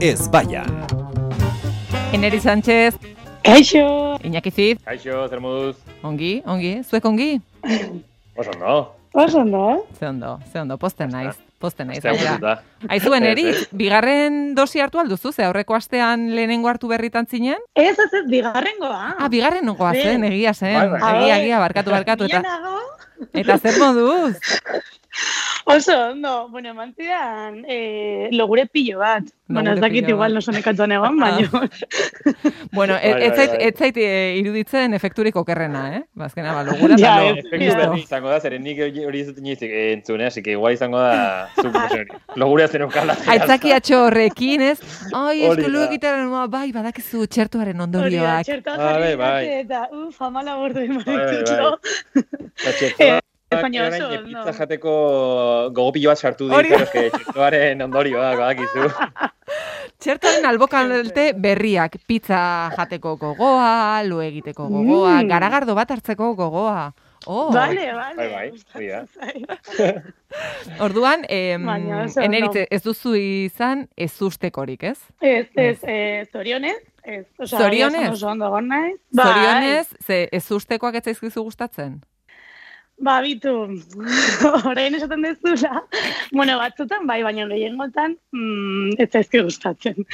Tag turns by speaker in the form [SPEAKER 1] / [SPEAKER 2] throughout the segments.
[SPEAKER 1] ez baian.
[SPEAKER 2] Eneri Sánchez,
[SPEAKER 3] Kaixo!
[SPEAKER 2] Iñaki Zid,
[SPEAKER 4] Kaixo, zer moduz?
[SPEAKER 2] ongi, ongi, zuek ongi?
[SPEAKER 4] Oso no?
[SPEAKER 3] Oso no?
[SPEAKER 2] Ze ondo, ze ondo, posten naiz, posten naiz.
[SPEAKER 4] Azte
[SPEAKER 2] gainera.
[SPEAKER 4] da.
[SPEAKER 2] Aizu Eneri,
[SPEAKER 4] Ez,
[SPEAKER 2] bigarren dosi hartu alduzu, ze aurreko astean lehenengo hartu berritan zinen?
[SPEAKER 3] Ez ez ez bigarrengoa.
[SPEAKER 2] Ah, bigarren nongoa zen, egia zen,
[SPEAKER 4] Bai, bai.
[SPEAKER 2] egia, egia, barkatu, barkatu,
[SPEAKER 3] Ia
[SPEAKER 2] eta,
[SPEAKER 3] nago?
[SPEAKER 2] eta zer moduz?
[SPEAKER 3] Oso ondo, bueno, eman zidan eh, logure pilo bat. bueno, ez
[SPEAKER 2] Logure
[SPEAKER 3] dakit
[SPEAKER 2] pilo bat.
[SPEAKER 3] igual
[SPEAKER 2] Ah,
[SPEAKER 3] noso nekatuan egon, baina
[SPEAKER 2] Bueno, e-
[SPEAKER 4] Bai,
[SPEAKER 2] ez
[SPEAKER 4] bai,
[SPEAKER 2] zait,
[SPEAKER 4] bai.
[SPEAKER 2] ez zait eh, iruditzen efekturik okerrena, eh? Bazkena, ba, logura
[SPEAKER 3] Ja,
[SPEAKER 2] eta
[SPEAKER 3] ez,
[SPEAKER 4] Efektu
[SPEAKER 2] listo.
[SPEAKER 4] berri izango da, zeren nik hori ez dut inoiz eh, entzune, así que igual izango da zupusen hori. Logurea zen eukala.
[SPEAKER 2] Aitzaki atxo horrekin, ez? Ai,
[SPEAKER 4] Hori
[SPEAKER 2] eskolu
[SPEAKER 4] da.
[SPEAKER 2] egitaren, bai, badakizu txertuaren
[SPEAKER 3] hori da,
[SPEAKER 2] ondorioak.
[SPEAKER 3] txertoa
[SPEAKER 4] Bai,
[SPEAKER 3] jarri
[SPEAKER 4] bai.
[SPEAKER 3] didate eta uf, amala bordu
[SPEAKER 4] Bai, bai.
[SPEAKER 3] imaritulo. Eh, baina oso ondo.
[SPEAKER 4] Pizza jateko gogopilo bat sartu
[SPEAKER 2] Hori
[SPEAKER 4] dit, pero eske txertoaren ondorioa, badakizu.
[SPEAKER 2] Txertaren albokalte berriak, pizza jateko gogoa, lo egiteko gogoa,
[SPEAKER 3] Mm.
[SPEAKER 2] garagardo bat hartzeko gogoa. Oh,
[SPEAKER 3] Vale,
[SPEAKER 4] Bai,
[SPEAKER 3] vale.
[SPEAKER 4] bai, hori da.
[SPEAKER 2] orduan, em,
[SPEAKER 3] Baina oso ondo.
[SPEAKER 2] eneritze ez duzu izan ez ustekorik, ez?
[SPEAKER 3] Ez, ez, eh, zorionez. Ez, osea,
[SPEAKER 2] Zorionez?
[SPEAKER 3] egia esan Oso ondo egon naiz.
[SPEAKER 2] Zorionez, ze ez ustekoak ez zaizkizu gustatzen.
[SPEAKER 3] Ba, bitu, orain esaten dezula, bueno, batzutan bai, baina gehiengotan mm, ez zaizki gustatzen.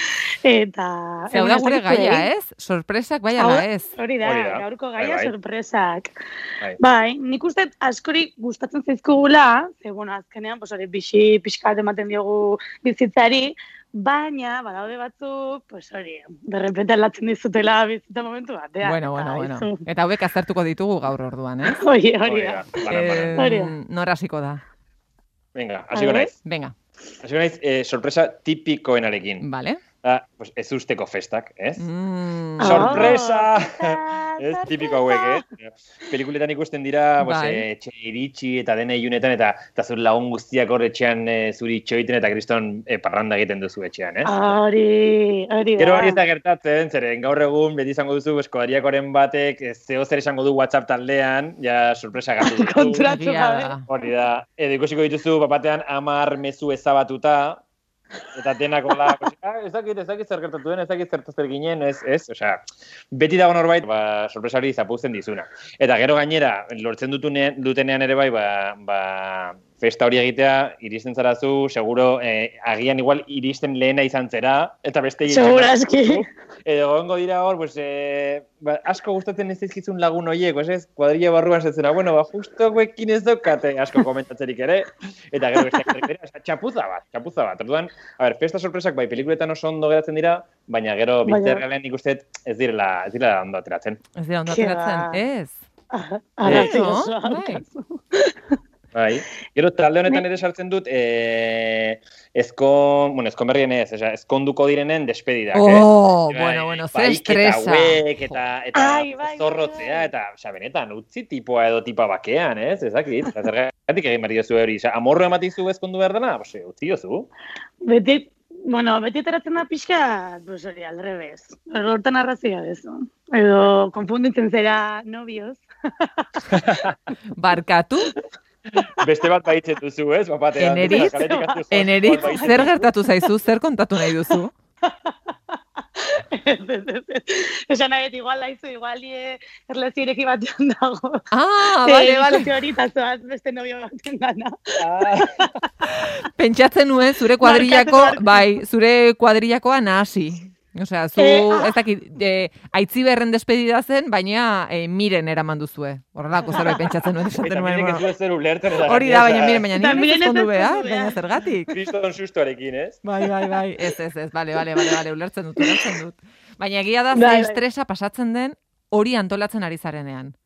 [SPEAKER 3] Eta...
[SPEAKER 2] Ze hau da gure gaia, eh? ez? Sorpresak bai ala
[SPEAKER 3] Bai. Hau-
[SPEAKER 2] ez.
[SPEAKER 3] Hori da,
[SPEAKER 4] Hori da,
[SPEAKER 3] gaurko
[SPEAKER 4] bai,
[SPEAKER 3] gaia
[SPEAKER 4] bai.
[SPEAKER 3] sorpresak.
[SPEAKER 4] Bai.
[SPEAKER 3] Bai, nik uste askori gustatzen zaizkugula, ze bueno, azkenean, pues hori bixi, pixkat ematen diogu bizitzari, baina, badaude batzuk, pues hori, derrepente aldatzen dizutela bizitza momentu batean.
[SPEAKER 2] Bueno,
[SPEAKER 3] eta
[SPEAKER 2] bueno, bueno.
[SPEAKER 3] izu-
[SPEAKER 2] Eta hauek aztertuko ditugu gaur orduan, eh?
[SPEAKER 3] Hori, hori
[SPEAKER 4] Hori
[SPEAKER 3] da.
[SPEAKER 4] da. Banan, banan.
[SPEAKER 2] Em,
[SPEAKER 3] Hori da.
[SPEAKER 2] nor hasiko da.
[SPEAKER 4] Venga,
[SPEAKER 3] A
[SPEAKER 4] hasiko
[SPEAKER 3] ver.
[SPEAKER 4] naiz.
[SPEAKER 2] Venga,
[SPEAKER 4] Hasiko naiz eh, sorpresa tipikoenarekin.
[SPEAKER 2] vale.
[SPEAKER 4] Da, pues ez usteko festak, ez?
[SPEAKER 2] Mm.
[SPEAKER 3] Ah.
[SPEAKER 4] Sorpresa!
[SPEAKER 3] Eta-
[SPEAKER 4] Ez tipiko hauek, eh? Pelikuletan ikusten dira, pues,
[SPEAKER 2] Bai.
[SPEAKER 4] eh, etxe iritsi eta dena ilunetan, eta, eta zure lagun guztiak hor etxean eh, zuri txoiten eta kriston eh, parranda egiten duzu etxean, eh?
[SPEAKER 3] Hori, hori da.
[SPEAKER 4] Gero hori ez da gertatzen, zeren gaur egun beti izango duzu eskodariakoren batek eh, zeo zer esango du WhatsApp taldean, ja sorpresa gatu duzu.
[SPEAKER 3] Konturatu
[SPEAKER 2] Egia
[SPEAKER 3] gabe.
[SPEAKER 2] da.
[SPEAKER 4] Hori da, edo ikusiko dituzu papatean amar mezu ezabatuta, eta denak hola, pues, ah, ez dakit, ez dakit zer gertatu den, ez dakit zertaz zer ginen, ez, ez, osea, beti dago norbait, ba, sorpresa hori zapuzten dizuna. Eta gero gainera, lortzen dutune, dutenean ere bai, ba, ba, festa hori egitea, iristen zara zu, seguro, eh, agian igual iristen lehena izan zera, eta beste
[SPEAKER 3] Seguraski.
[SPEAKER 4] Edo gongo dira hor, pues, eh, ba, asko gustatzen ez dizkizun lagun horiek, pues, ez, kuadrilla barruan zetzena, bueno, ba, justo guekin ez daukate asko komentatzerik ere, eta gero besteak etorri dira, osea, txapuza bat, txapuza bat. Orduan, a ber, festa sorpresak bai pelikuletan oso ondo geratzen dira, baina gero
[SPEAKER 3] Baina-
[SPEAKER 4] bitzerrealean ikusten ez direla, ez direla ondo ateratzen.
[SPEAKER 2] Ez dira ondo
[SPEAKER 3] Ke
[SPEAKER 2] ateratzen,
[SPEAKER 3] ba.
[SPEAKER 2] ez?
[SPEAKER 3] Arrazoi
[SPEAKER 2] Bueno,
[SPEAKER 3] osoa
[SPEAKER 2] bai.
[SPEAKER 3] daukazu.
[SPEAKER 4] Bai. Gero talde honetan ere sartzen dut, eh, ezko, bueno, ezkon berrien ez, osea, ezkonduko direnen despedidak, eh?
[SPEAKER 2] Oh,
[SPEAKER 4] Bai,
[SPEAKER 2] bueno, bueno, ze
[SPEAKER 4] baik
[SPEAKER 2] estresa.
[SPEAKER 4] Eta hauek, eta, eta
[SPEAKER 3] Ai, bai, bai,
[SPEAKER 4] zorrotzea,
[SPEAKER 3] bai.
[SPEAKER 4] eta, osea, benetan, utzi tipoa edo tipa bakean, ez? Ez dakit, eta zergatik egin behar diozu hori. Osea, amorro ematizu ezkondu behar dena, pues, utzi diozu.
[SPEAKER 3] Beti, bueno, beti ateratzen da pixka, pues hori, alrebez. Hortan arrazia bezu. Edo, konfunditzen zera novios.
[SPEAKER 2] Barkatu,
[SPEAKER 4] Beste bat baitzen duzu, ez? Bapatean,
[SPEAKER 2] Eneritz?
[SPEAKER 4] kaletik hartu zuen,
[SPEAKER 2] eneritz,
[SPEAKER 4] bat baitzen
[SPEAKER 2] zer
[SPEAKER 4] duzu.
[SPEAKER 2] gertatu zaizu, zer kontatu nahi duzu?
[SPEAKER 3] Ez, ez, ez, ez. Esan nahi, dut, igual laizu, igual die erlazireki batean dago.
[SPEAKER 2] Ah, bale,
[SPEAKER 3] Eh,
[SPEAKER 2] bale.
[SPEAKER 3] ikusi hori eta zoaz beste novio baten dana.
[SPEAKER 4] Ah,
[SPEAKER 2] Pentsatzen nuen zure kuadrillako,
[SPEAKER 3] Barkatu, barkatu.
[SPEAKER 2] bai, zure kuadrillakoa nahasi. Osea, zu,
[SPEAKER 3] Eh, ah.
[SPEAKER 2] ez dakit, eh, aitzi berren despedida zen, baina eh, miren eraman duzue. Horrelako zerbait pentsatzen nuen,
[SPEAKER 4] Eta
[SPEAKER 2] esaten nuen.
[SPEAKER 4] miren ez
[SPEAKER 2] bueno,
[SPEAKER 4] duela zer ulertzen. eta
[SPEAKER 2] Hori da, baina
[SPEAKER 4] gainera,
[SPEAKER 2] miren, baina
[SPEAKER 3] Eta
[SPEAKER 2] nire ez
[SPEAKER 3] miren ez
[SPEAKER 2] kondu
[SPEAKER 3] ezkondu
[SPEAKER 2] behar,
[SPEAKER 3] behar.
[SPEAKER 2] baina zergatik.
[SPEAKER 4] Kriston sustoarekin, ez?
[SPEAKER 2] Bai, bai, bai. Ez, ez, ez, bale, bale, bale, bale, ulertzen dut, ulertzen dut. Baina egia da, ze
[SPEAKER 3] Bai, bai.
[SPEAKER 2] estresa pasatzen den hori antolatzen ari zarenean.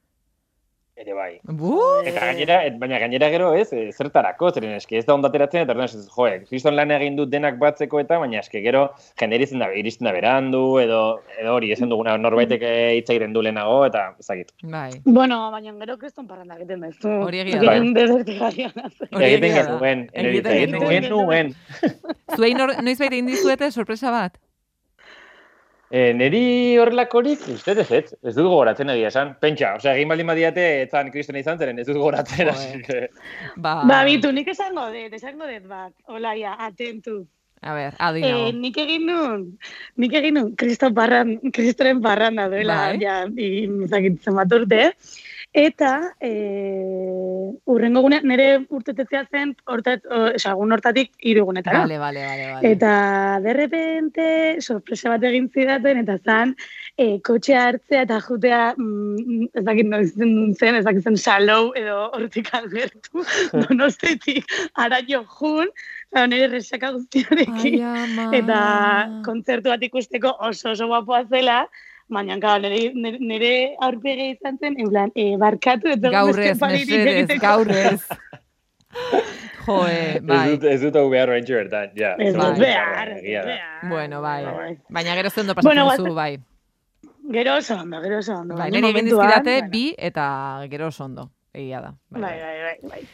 [SPEAKER 4] Ere bai.
[SPEAKER 2] Bu!
[SPEAKER 4] Eta gainera, et- baina gainera gero ez, e, zertarako, zeren eske ez da ondateratzen, eta orduan ez, jo, e, kriston lan egin dut denak batzeko eta, baina eske gero jende iristen da, iristen da berandu, edo, edo hori, esan duguna
[SPEAKER 2] Mm.
[SPEAKER 4] norbaitek eh, hitz egiten du lehenago, eta ezagit.
[SPEAKER 2] Bai.
[SPEAKER 3] Bueno, baina gero kriston parranda egiten bezu.
[SPEAKER 2] Hori egia
[SPEAKER 4] da.
[SPEAKER 3] Egin dezertigazioan.
[SPEAKER 2] Hori
[SPEAKER 4] Egiten bai.
[SPEAKER 2] egia da.
[SPEAKER 4] genuen, nire hitz,
[SPEAKER 2] Egiten
[SPEAKER 3] genuen.
[SPEAKER 4] egiten genuen.
[SPEAKER 2] Zuei nor, noizbait egin dizuete sorpresa bat?
[SPEAKER 4] E, neri horrelakorik, uste ez ez, ez dut gogoratzen egia esan. Pentsa, osea, egin baldin badiate, etzan kriston izan zeren, ez dut gogoratzen.
[SPEAKER 2] Jo,
[SPEAKER 4] así que-
[SPEAKER 2] Ba,
[SPEAKER 3] Ba, bitu, nik esango dut, esango dut bat. Hola, ja, atentu.
[SPEAKER 2] A ber, adi nago.
[SPEAKER 3] Eh, nik egin nun, nik egin nun, kriston barran, kristoren barran da duela,
[SPEAKER 2] Bai.
[SPEAKER 3] ja, bi, ezakit zenbat urte, eta eh, urrengo gunean, nire urtetetzea zen, hortat, o, osea, egun hortatik hirugunetara.
[SPEAKER 2] Bale, bale, bale, bale.
[SPEAKER 3] Eta derrepente, sorpresa bat egin zidaten, eta zan, e, kotxea hartzea eta jutea, mm, ez dakit noiz zen, ez dakit zen salou edo hortik albertu, donostetik, araño jun, eta nire resaka guztiarekin.
[SPEAKER 2] ama.
[SPEAKER 3] Eta
[SPEAKER 2] Ah.
[SPEAKER 3] kontzertu bat ikusteko oso oso guapoa zela, Baina, gau, nire, nire- nire aurpegia izan zen, en plan, e, barkatu, ez dugu
[SPEAKER 2] Gaur
[SPEAKER 3] beste
[SPEAKER 2] ez,
[SPEAKER 3] palirik
[SPEAKER 2] mesedez,
[SPEAKER 3] egiteko.
[SPEAKER 2] gaur ez. Joe,
[SPEAKER 4] Ez
[SPEAKER 2] bai.
[SPEAKER 4] dut, ez dut hau behar oraintxe bertan, ja.
[SPEAKER 3] Ez dut
[SPEAKER 2] Bai.
[SPEAKER 3] behar, ez
[SPEAKER 4] Egia
[SPEAKER 3] dut
[SPEAKER 4] da.
[SPEAKER 3] behar.
[SPEAKER 2] Bueno, bai.
[SPEAKER 4] Bai, bai.
[SPEAKER 2] Baina gero zendo
[SPEAKER 3] Bueno,
[SPEAKER 2] pasatzen
[SPEAKER 3] guaz-
[SPEAKER 2] duzu, bai.
[SPEAKER 3] Gero oso ondo, gero oso ondo.
[SPEAKER 2] Bai,
[SPEAKER 3] Baina
[SPEAKER 2] niri egin
[SPEAKER 3] momentuan,
[SPEAKER 2] dizkidate
[SPEAKER 3] bueno.
[SPEAKER 2] bi eta gero oso ondo. Egia da. Bai,
[SPEAKER 3] Bai,
[SPEAKER 2] bai.
[SPEAKER 3] bai, bai, bai.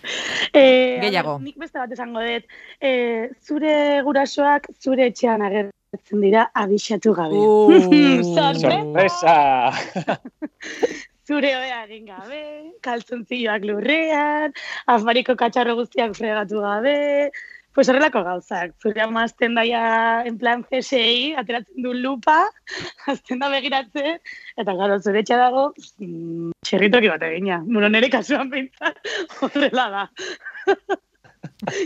[SPEAKER 3] Eh,
[SPEAKER 2] Gehiago.
[SPEAKER 3] a ber, nik beste bat esango dut. Eh, zure gurasoak zure etxean agertzen dira abisatu gabe.
[SPEAKER 2] Uh,
[SPEAKER 3] Sorpresa.
[SPEAKER 4] Sorpresa!
[SPEAKER 3] Zure oea egin gabe, kaltzontzioak lurrean, afmariko katxarro guztiak fregatu gabe, pues horrelako gauzak. Zure ama azten daia en plan CSI, ateratzen du lupa, azten da begiratzen, eta gero zure etxe dago, mm, txerritoki bat egina. Bueno, nire kasuan bintzat, horrela da.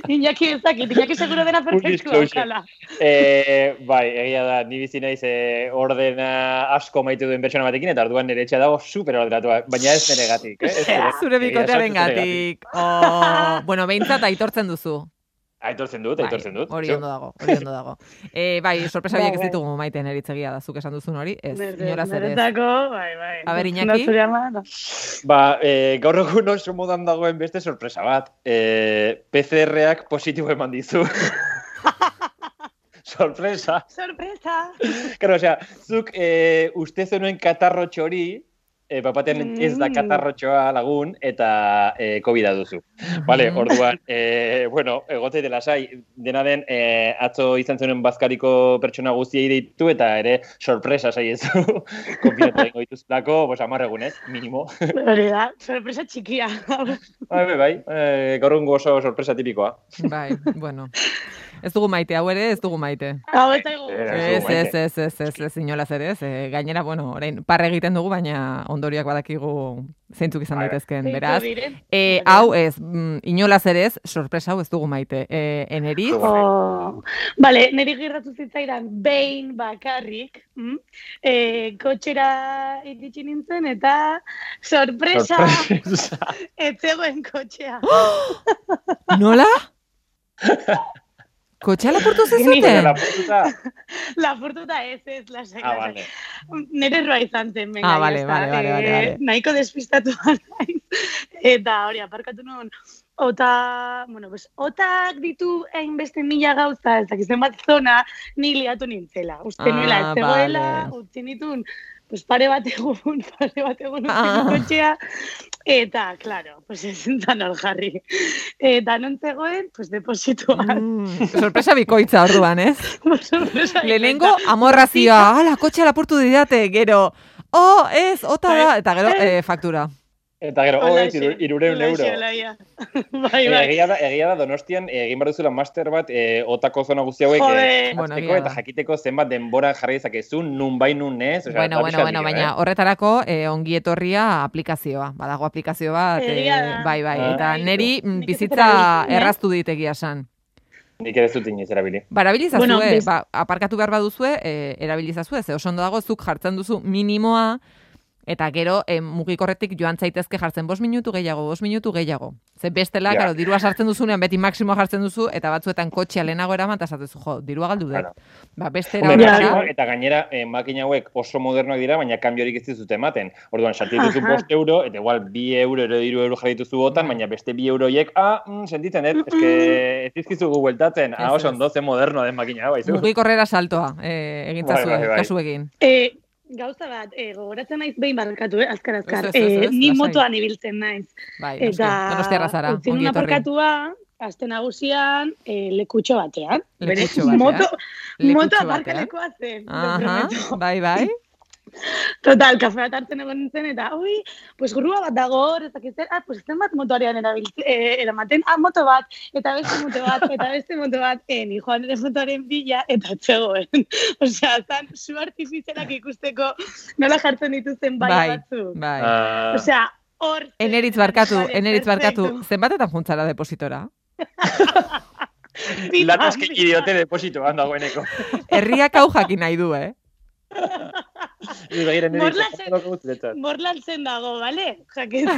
[SPEAKER 3] Iñaki ezakit, Iñaki seguro dena
[SPEAKER 4] Full
[SPEAKER 3] perfektua
[SPEAKER 4] disclosure.
[SPEAKER 3] daukala.
[SPEAKER 4] Eh, bai, egia da, ni bizi naiz eh, ordena asko maite duen pertsona batekin, eta orduan nire etxea dago super ordenatua, baina ez neregatik. Eh? Ez nire-
[SPEAKER 2] Zure
[SPEAKER 4] egia esan, ez
[SPEAKER 2] bikotearen gatik. Oh, bueno, behintzat aitortzen duzu. Bai,
[SPEAKER 4] Aitortzen Ah, dut, aitortzen dut.
[SPEAKER 2] Hori
[SPEAKER 4] Zu.
[SPEAKER 2] ondo dago, hori ondo dago. Eh, bai, sorpresa
[SPEAKER 3] Bai,
[SPEAKER 2] biak ez
[SPEAKER 3] bai.
[SPEAKER 2] ditugu maite neritzegia da, zuk esan duzun hori, ez,
[SPEAKER 3] Nere-
[SPEAKER 2] inolaz ere ez.
[SPEAKER 3] Niretzako, bai, bai.
[SPEAKER 2] A ber, Iñaki?
[SPEAKER 3] No, zure ama, no.
[SPEAKER 4] Ba, eh, gaur egun oso modan dagoen beste sorpresa bat. Eh, PCR-ak positibo eman dizu. sorpresa.
[SPEAKER 3] Sorpresa!
[SPEAKER 4] Claro, osea, zuk eh, uste zenuen katarrotxo hori, eh, papaten ez da
[SPEAKER 3] Mm.
[SPEAKER 4] katarrotxoa lagun, eta eh, COVID-a duzu.
[SPEAKER 2] Mhm.
[SPEAKER 4] Vale, orduan, eh, bueno, egote dela sai, dena den, eh, atzo izan zenuen bazkariko pertsona guztiei deitu, eta ere sorpresa sai ez du, konfinatu egingo dituzulako, bos, amarregunez, minimo.
[SPEAKER 3] Hori da, sorpresa txikia.
[SPEAKER 4] Bai, bai, bai, eh, gaur egungo oso sorpresa tipikoa.
[SPEAKER 2] Bai, bueno. Ez dugu maite, hau ere ez dugu maite.
[SPEAKER 3] Hau ez zaigu.
[SPEAKER 4] Ez dugu
[SPEAKER 2] Ez, ez,
[SPEAKER 4] maite.
[SPEAKER 2] ez, ez, ez, ez, inolaz ere ez. Eh, Gainera, bueno, orain, parre egiten dugu, baina ondoriak badakigu zeintzuk izan
[SPEAKER 4] Bai.
[SPEAKER 2] daitezkeen,
[SPEAKER 3] Zeintzuk
[SPEAKER 2] beraz.
[SPEAKER 3] diren?
[SPEAKER 2] E, hau ez, mm, inolaz ere ez, sorpresa hau ez dugu maite. E, eneri,
[SPEAKER 4] Jo.
[SPEAKER 3] Oh. Vale, niri girratu zitzaidan behin bakarrik, mm? e, kotxera iritsi nintzen eta sorpresa,
[SPEAKER 4] Sorpresa.
[SPEAKER 3] etzegoen kotxea.
[SPEAKER 2] nola? Kotxea lapurtu
[SPEAKER 4] Baina
[SPEAKER 2] zezaten?
[SPEAKER 4] lapurtuta.
[SPEAKER 3] Lapurtuta ez, ez, lasai,
[SPEAKER 4] Ah,
[SPEAKER 3] lasai.
[SPEAKER 4] vale.
[SPEAKER 3] Nire erroa izan zen, venga,
[SPEAKER 2] Ah,
[SPEAKER 3] ya
[SPEAKER 2] vale,
[SPEAKER 3] está.
[SPEAKER 2] vale, vale, vale,
[SPEAKER 3] Eh,
[SPEAKER 2] vale.
[SPEAKER 3] Nahiko despistatu naiz. Eta hori, aparkatu nuen, ota, bueno, pues, otak ditu hainbeste mila gauza, ez dakizen bat zona, ni liatu nintzela. Uste
[SPEAKER 2] Ah,
[SPEAKER 3] nuela, ez zegoela,
[SPEAKER 2] vale.
[SPEAKER 3] utzi nitun, pues pare bat egun, pare bat egun utzi
[SPEAKER 2] Ah.
[SPEAKER 3] nuen kotxea, eta, claro, pues ez zintan hor jarri. Eta non zegoen, pues deposituan.
[SPEAKER 2] Mm, sorpresa bikoitza orduan, ez?
[SPEAKER 3] Sorpresa,
[SPEAKER 2] Lehenengo amorrazioa, ala, kotxea lapurtu didate, gero, oh, ez, ota da, eta gero, eh, faktura.
[SPEAKER 4] Eta gero, oh, ez,
[SPEAKER 3] Olaxe,
[SPEAKER 4] iru- irureun
[SPEAKER 3] olaxe,
[SPEAKER 4] euro.
[SPEAKER 3] olaia. bai,
[SPEAKER 4] Eh,
[SPEAKER 3] bai.
[SPEAKER 4] Egia da, egia da Donostian eh, egin behar duzula master bat eh, otako zona guzti hauek
[SPEAKER 3] Joder.
[SPEAKER 4] eh,
[SPEAKER 2] Bueno,
[SPEAKER 4] azteko
[SPEAKER 2] egia da.
[SPEAKER 4] eta jakiteko zenbat denbora jarri dezakezu, nun bai nun ez. osea,
[SPEAKER 2] Bueno,
[SPEAKER 4] da
[SPEAKER 2] bueno,
[SPEAKER 4] pixka
[SPEAKER 2] bueno,
[SPEAKER 4] bila,
[SPEAKER 2] baina horretarako eh, ongi etorria aplikazioa. Badago aplikazio bat, eh,
[SPEAKER 3] Egia da.
[SPEAKER 2] bai, bai,
[SPEAKER 4] Ah.
[SPEAKER 2] eta neri mm,
[SPEAKER 3] Nik ez
[SPEAKER 2] bizitza
[SPEAKER 3] erabili, eh?
[SPEAKER 2] erraztu ditegia san.
[SPEAKER 4] eh? Nik ere ez dut inoiz erabili.
[SPEAKER 2] Barabilizazue,
[SPEAKER 3] Bueno, bez-
[SPEAKER 2] ba, aparkatu behar baduzue, e, erabilizazue, ze oso ondo dago zuk jartzen duzu minimoa, eta gero e, mugikorretik joan zaitezke jartzen bost minutu gehiago, bost minutu gehiago. Ze bestela,
[SPEAKER 4] Ja.
[SPEAKER 2] claro, dirua sartzen duzunean beti maksimoa jartzen duzu, eta batzuetan kotxea lehenago eraman, eta esatezu, jo, dirua galdu dut.
[SPEAKER 4] Claro.
[SPEAKER 2] Ba, beste
[SPEAKER 4] Hombre, bai,
[SPEAKER 3] hori da.
[SPEAKER 4] maximoak eta gainera eh, makina hauek oso modernoak dira, baina kanbiorik ez dizute ematen. Orduan, sartu duzu
[SPEAKER 3] Aha.
[SPEAKER 4] bost euro, eta igual bi euro, edo iru euro jarri dituzu otan, baina beste bi euroiek, ah, mm, sentitzen, ez, eske ez dizkizugu bueltatzen, ah,
[SPEAKER 2] Ez,
[SPEAKER 4] oso
[SPEAKER 2] ez.
[SPEAKER 4] ondo zen moderno den makina hau, haizu.
[SPEAKER 2] mugikorrera saltoa, e, egintzazue,
[SPEAKER 4] Bai, bai, bai.
[SPEAKER 2] kasuekin.
[SPEAKER 3] E, gauza bat, e, gogoratzen naiz behin barkatu, eh? azkar, azkar.
[SPEAKER 2] Ez, ez, ez,
[SPEAKER 3] Eh,
[SPEAKER 2] ez,
[SPEAKER 3] ni
[SPEAKER 2] lasai.
[SPEAKER 3] motoan ibiltzen naiz.
[SPEAKER 2] Bai, noski,
[SPEAKER 3] Eta,
[SPEAKER 2] donostiarra zara,
[SPEAKER 3] utzi
[SPEAKER 2] ongi
[SPEAKER 3] nuen
[SPEAKER 2] etorri.
[SPEAKER 3] aparkatua, aste nagusian, e, lekutxo batean.
[SPEAKER 2] Lekutxo batean?
[SPEAKER 3] Moto,
[SPEAKER 2] Lekutxo
[SPEAKER 3] moto
[SPEAKER 2] batean?
[SPEAKER 3] aparkalekoa zen, te
[SPEAKER 2] Aha,
[SPEAKER 3] prometo.
[SPEAKER 2] bai, bai.
[SPEAKER 3] Total, kafea hartzen egon nintzen, eta, ui, pues grua bat dago hor, ez dakit zer, ah, pues zenbat motoarean erabilt, eh, eramaten, ah, moto bat, eta beste moto bat, eta beste moto bat, eh, ni joan ere motoaren bila, eta txegoen. Osea, zan, su artifizialak ikusteko nola jartzen dituzten bai,
[SPEAKER 2] Bai,
[SPEAKER 3] batzuk.
[SPEAKER 2] bai.
[SPEAKER 4] Ah,
[SPEAKER 3] Osea, hor...
[SPEAKER 2] Eneritz barkatu, eneritz barkatu. Zenbatetan juntzara depositora?
[SPEAKER 4] Lan eskaini diote depositoan dagoeneko.
[SPEAKER 2] Herriak hau jakin nahi du, eh?
[SPEAKER 3] Morlasen- Morlan zen dago, bale? Jakin,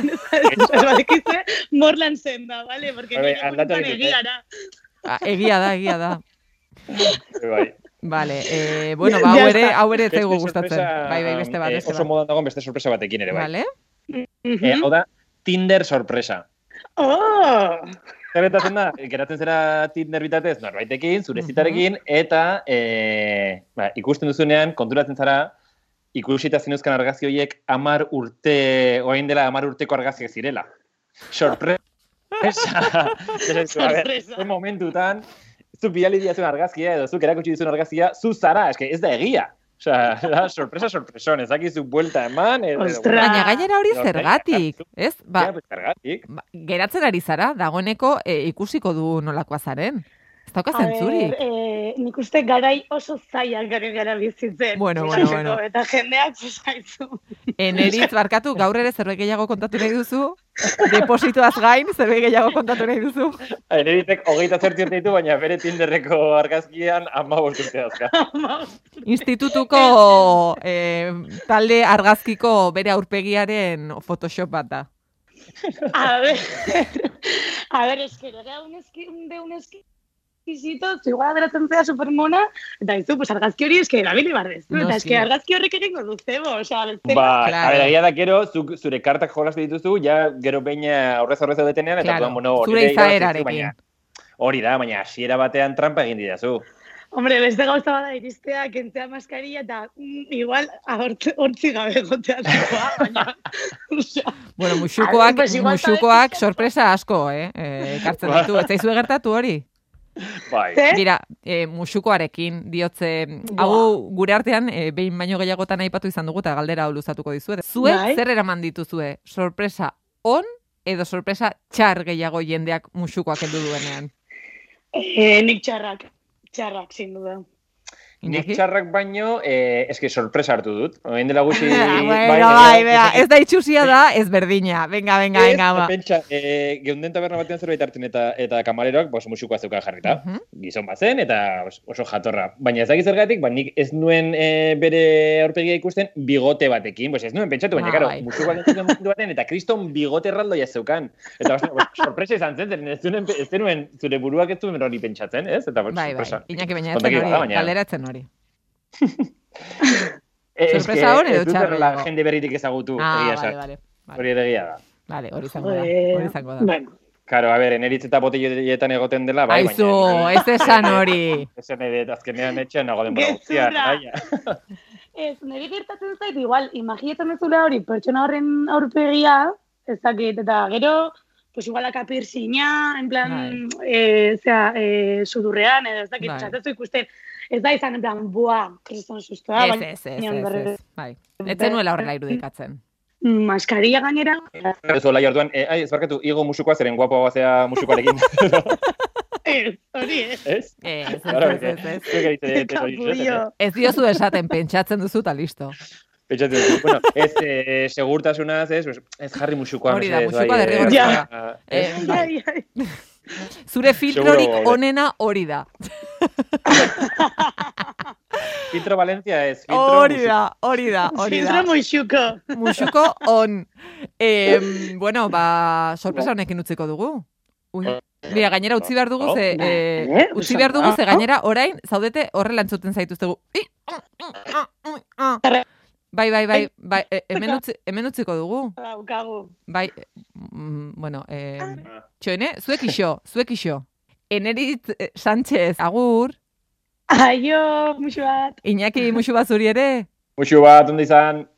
[SPEAKER 3] badekize, ba, Morlan zen da, bale? Porque
[SPEAKER 4] Bai, bai,
[SPEAKER 3] nire
[SPEAKER 4] aldatu
[SPEAKER 3] burutan
[SPEAKER 4] egiten zait.
[SPEAKER 3] egia da.
[SPEAKER 2] Ah, egia da, egia da.
[SPEAKER 4] Bai.
[SPEAKER 2] Vale, eh, bueno, ba,
[SPEAKER 3] Ja,
[SPEAKER 2] hau
[SPEAKER 3] ja
[SPEAKER 2] ere,
[SPEAKER 3] está.
[SPEAKER 2] hau ere ez zaigu
[SPEAKER 4] Beste
[SPEAKER 2] gustatzen.
[SPEAKER 4] sorpresa,
[SPEAKER 2] Bai, bai, beste bat,
[SPEAKER 4] eh,
[SPEAKER 2] beste
[SPEAKER 4] Oso
[SPEAKER 2] bat.
[SPEAKER 4] modan dagoen beste sorpresa batekin ere, bai.
[SPEAKER 2] Vale?
[SPEAKER 4] Eh,
[SPEAKER 3] Mhm.
[SPEAKER 4] hau da, Tinder sorpresa.
[SPEAKER 3] Oh!
[SPEAKER 4] Zer gertatzen da, eh, geratzen zera Tinder bitatez, norbaitekin, zure zitarekin, eta eh, ba, ikusten duzunean, konturatzen zara, ikusita zinuzkan argazki horiek amar urte, orain dela amar urteko argazkiak zirela. Sorpresa. Sorpresa. A ber,
[SPEAKER 3] Sorpresa.
[SPEAKER 4] zuen momentutan, zu bidali diazun argazkia edo zuk erakutsi dizun argazkia, zu zara, eske ez da egia. Osea, da, sorpresa, sorpreson, ez dakizu buelta eman, edo...
[SPEAKER 3] Ostra.
[SPEAKER 2] Baina gainera hori
[SPEAKER 4] No,
[SPEAKER 2] zergatik,
[SPEAKER 4] zergatik.
[SPEAKER 2] ez? Ba,
[SPEAKER 4] Ja, pues, zergatik.
[SPEAKER 2] ba, geratzen ari zara, dagoeneko eh, ikusiko du nolakoa zaren. Ez dauka
[SPEAKER 3] A ber,
[SPEAKER 2] zentzurik.
[SPEAKER 3] eh, nik uste garai oso zailak garen gara bizitzen.
[SPEAKER 2] Bueno, bueno, bueno.
[SPEAKER 3] Eta jendeak zaizu.
[SPEAKER 2] Eneritz barkatu, gaur ere zerbait gehiago kontatu nahi duzu? Depositoaz gain, zerbait gehiago kontatu nahi duzu?
[SPEAKER 4] Eneritek Bai, hogeita zortzi urte ditu, baina bere Tinderreko argazkian ama urte dauzka.
[SPEAKER 2] Institutuko eh, talde argazkiko bere aurpegiaren Photoshop bat da.
[SPEAKER 3] A ver, a ver, es que llega un eski, un de un eski Bizito, igual ateratzen zea supermona, eta izu, pues argazki hori eske erabili behar dezu,
[SPEAKER 2] Noski.
[SPEAKER 3] eta eske argazki horrek egingo du zebo, osea, beste...
[SPEAKER 4] Ba,
[SPEAKER 2] Claro.
[SPEAKER 4] a ber, egia da gero, zuk, zure kartak jolastu dituzu, ja gero beina aurrez aurrez daudetenean, eta
[SPEAKER 2] Claro,
[SPEAKER 4] orduan, bueno, hori
[SPEAKER 2] zure
[SPEAKER 4] da irabazi duzu,
[SPEAKER 2] izaerarekin.
[SPEAKER 4] baina- Hori da, baina hasiera batean trampa egin didazu.
[SPEAKER 3] Hombre, beste gauza bada iristea, kentzea maskarilla, eta mm, igual ahortzi hortzi gabe gotea zegoa, baina... osea,
[SPEAKER 2] Bueno,
[SPEAKER 3] A
[SPEAKER 2] musukoak,
[SPEAKER 3] ver, pues igual
[SPEAKER 2] musukoak
[SPEAKER 3] sabes-
[SPEAKER 2] sorpresa asko, eh? eh kartzen ditu. Ez zaizue gertatu hori?
[SPEAKER 4] Bai.
[SPEAKER 3] Ze?
[SPEAKER 2] Dira, e, musukoarekin, diotze,
[SPEAKER 3] Buah.
[SPEAKER 2] hau gure artean, e, behin baino gehiagotan aipatu izan dugu, eta galdera hau luzatuko dizuet. Zuek
[SPEAKER 3] Bai.
[SPEAKER 2] zer eraman dituzue? Sorpresa on edo sorpresa txar gehiago jendeak musukoak heldu duenean?
[SPEAKER 3] Eh, nik txarrak, txarrak, sin duda.
[SPEAKER 4] Nik
[SPEAKER 2] Iñaki?
[SPEAKER 4] txarrak baino, eh, eske sorpresa hartu dut. Oain dela gutxi...
[SPEAKER 2] Ah,
[SPEAKER 4] baina-
[SPEAKER 2] bueno, bai, bea, ez da itxusia da, ez berdina. Venga, venga,
[SPEAKER 4] Ez,
[SPEAKER 2] venga, ba.
[SPEAKER 4] Pentsa, eh, geunden taberna batean zerbait hartzen eta eta kamareroak, pues musikoa zeukan jarrita.
[SPEAKER 2] Mhm.
[SPEAKER 4] Gizon bazen eta os- oso jatorra. Baina ez dakit zergatik, ba nik ez nuen eh, bere aurpegia ikusten bigote batekin, pues ez nuen pentsatu, baina
[SPEAKER 2] Ah,
[SPEAKER 4] claro,
[SPEAKER 2] bai.
[SPEAKER 4] musikoa entzuten momentu batean eta kriston bigote erraldoia zeukan. Eta ostras, pues, sorpresa izan zen, zeren ez nuen, ez nuen zure buruak ez zuen hori pentsatzen, ez? Eta pues,
[SPEAKER 2] Bai, bai,
[SPEAKER 4] sorpresa.
[SPEAKER 2] Iñaki baina
[SPEAKER 4] Kontaki
[SPEAKER 2] etzen
[SPEAKER 4] bada,
[SPEAKER 2] hori,
[SPEAKER 4] baina-
[SPEAKER 2] galdera etzen hori.
[SPEAKER 4] Eh, eske,
[SPEAKER 2] Sorpresa hori
[SPEAKER 4] ez
[SPEAKER 2] edo
[SPEAKER 4] dut
[SPEAKER 2] txarra
[SPEAKER 4] horrela
[SPEAKER 2] dago?
[SPEAKER 4] Jende berritik ezagutu,
[SPEAKER 2] Ah,
[SPEAKER 4] egia
[SPEAKER 2] vale,
[SPEAKER 4] esan.
[SPEAKER 2] vale.
[SPEAKER 4] Hori ere egia da.
[SPEAKER 2] Vale, hori izango da,
[SPEAKER 3] Joder.
[SPEAKER 2] hori izango da.
[SPEAKER 3] Bueno,
[SPEAKER 4] Karo, a ber, eneritz eta botelloietan egoten dela, bai,
[SPEAKER 2] Aizu,
[SPEAKER 4] baina...
[SPEAKER 2] ez esan hori.
[SPEAKER 4] Esan nahi dut, azkenean etxean nago denbora bai.
[SPEAKER 3] Gezurra.
[SPEAKER 4] guztian. aia.
[SPEAKER 3] Ez, nire gertatzen zait, igual, imaginatzen dezula hori, pertsona horren aurpegia, ez dakit, eta gero, pues igual akapir zina, en plan, eh, zera, eh, sudurrean, edo ez dakit,
[SPEAKER 2] Bai.
[SPEAKER 3] txatezu ikusten, ez da izan, en plan, bua, kriston sustoa,
[SPEAKER 2] Ez,
[SPEAKER 3] baina
[SPEAKER 2] ez, ez,
[SPEAKER 3] nion
[SPEAKER 2] ez,
[SPEAKER 3] berriro.
[SPEAKER 2] ez. Bai. Etzen nuela horrela irudikatzen.
[SPEAKER 3] maskarilla gainera,
[SPEAKER 4] Ez olai orduan, e, ai, ez barkatu, igo musukoa zeren guapoa bazea musukoarekin.
[SPEAKER 3] ez, hori, ez,
[SPEAKER 4] ez?
[SPEAKER 2] Ez, ez,
[SPEAKER 4] Claro,
[SPEAKER 2] ez, ez, ez.
[SPEAKER 4] zuek egiten dut hori, esaten.
[SPEAKER 3] kapullo.
[SPEAKER 2] Ez diozu esaten, pentsatzen duzu eta listo.
[SPEAKER 4] Pentsatzen dut, bueno, ez, eh, segurtasunaz, ez, pues, ez jarri musukoa.
[SPEAKER 2] Hori da,
[SPEAKER 4] mesedez,
[SPEAKER 2] musukoa
[SPEAKER 4] bai,
[SPEAKER 2] derrigorrezkoa
[SPEAKER 4] eh,
[SPEAKER 2] Eh,
[SPEAKER 4] ez?
[SPEAKER 2] bai.
[SPEAKER 3] Ai, ai,
[SPEAKER 2] Zure filtrorik
[SPEAKER 4] Seguro, bai.
[SPEAKER 2] onena hori da.
[SPEAKER 4] Filtro Valencia ez, filtro
[SPEAKER 2] Hori
[SPEAKER 4] musukoa.
[SPEAKER 2] da, hori da, hori da.
[SPEAKER 3] Filtro moixuko.
[SPEAKER 2] Musuko on. Em, bueno, ba, sorpresa honekin utziko dugu. Ui. Mira, gainera utzi behar dugu ze, eh, Ah.
[SPEAKER 3] Eh,
[SPEAKER 2] utzi behar dugu ze gainera orain zaudete horrela entzuten zaituztegu. I, Bai, bai, bai, bai, eh, hemen, utzi, hemen utziko dugu.
[SPEAKER 3] Daukagu.
[SPEAKER 2] Bai, eh, mm, bueno, eh,
[SPEAKER 4] Ah.
[SPEAKER 2] txoene, zuek iso, zuek iso. Eneritz eh, Sánchez, agur,
[SPEAKER 3] Aio, muxu bat.
[SPEAKER 2] Iñaki musu bat zuri ere.
[SPEAKER 4] Musu bat, ondo izan,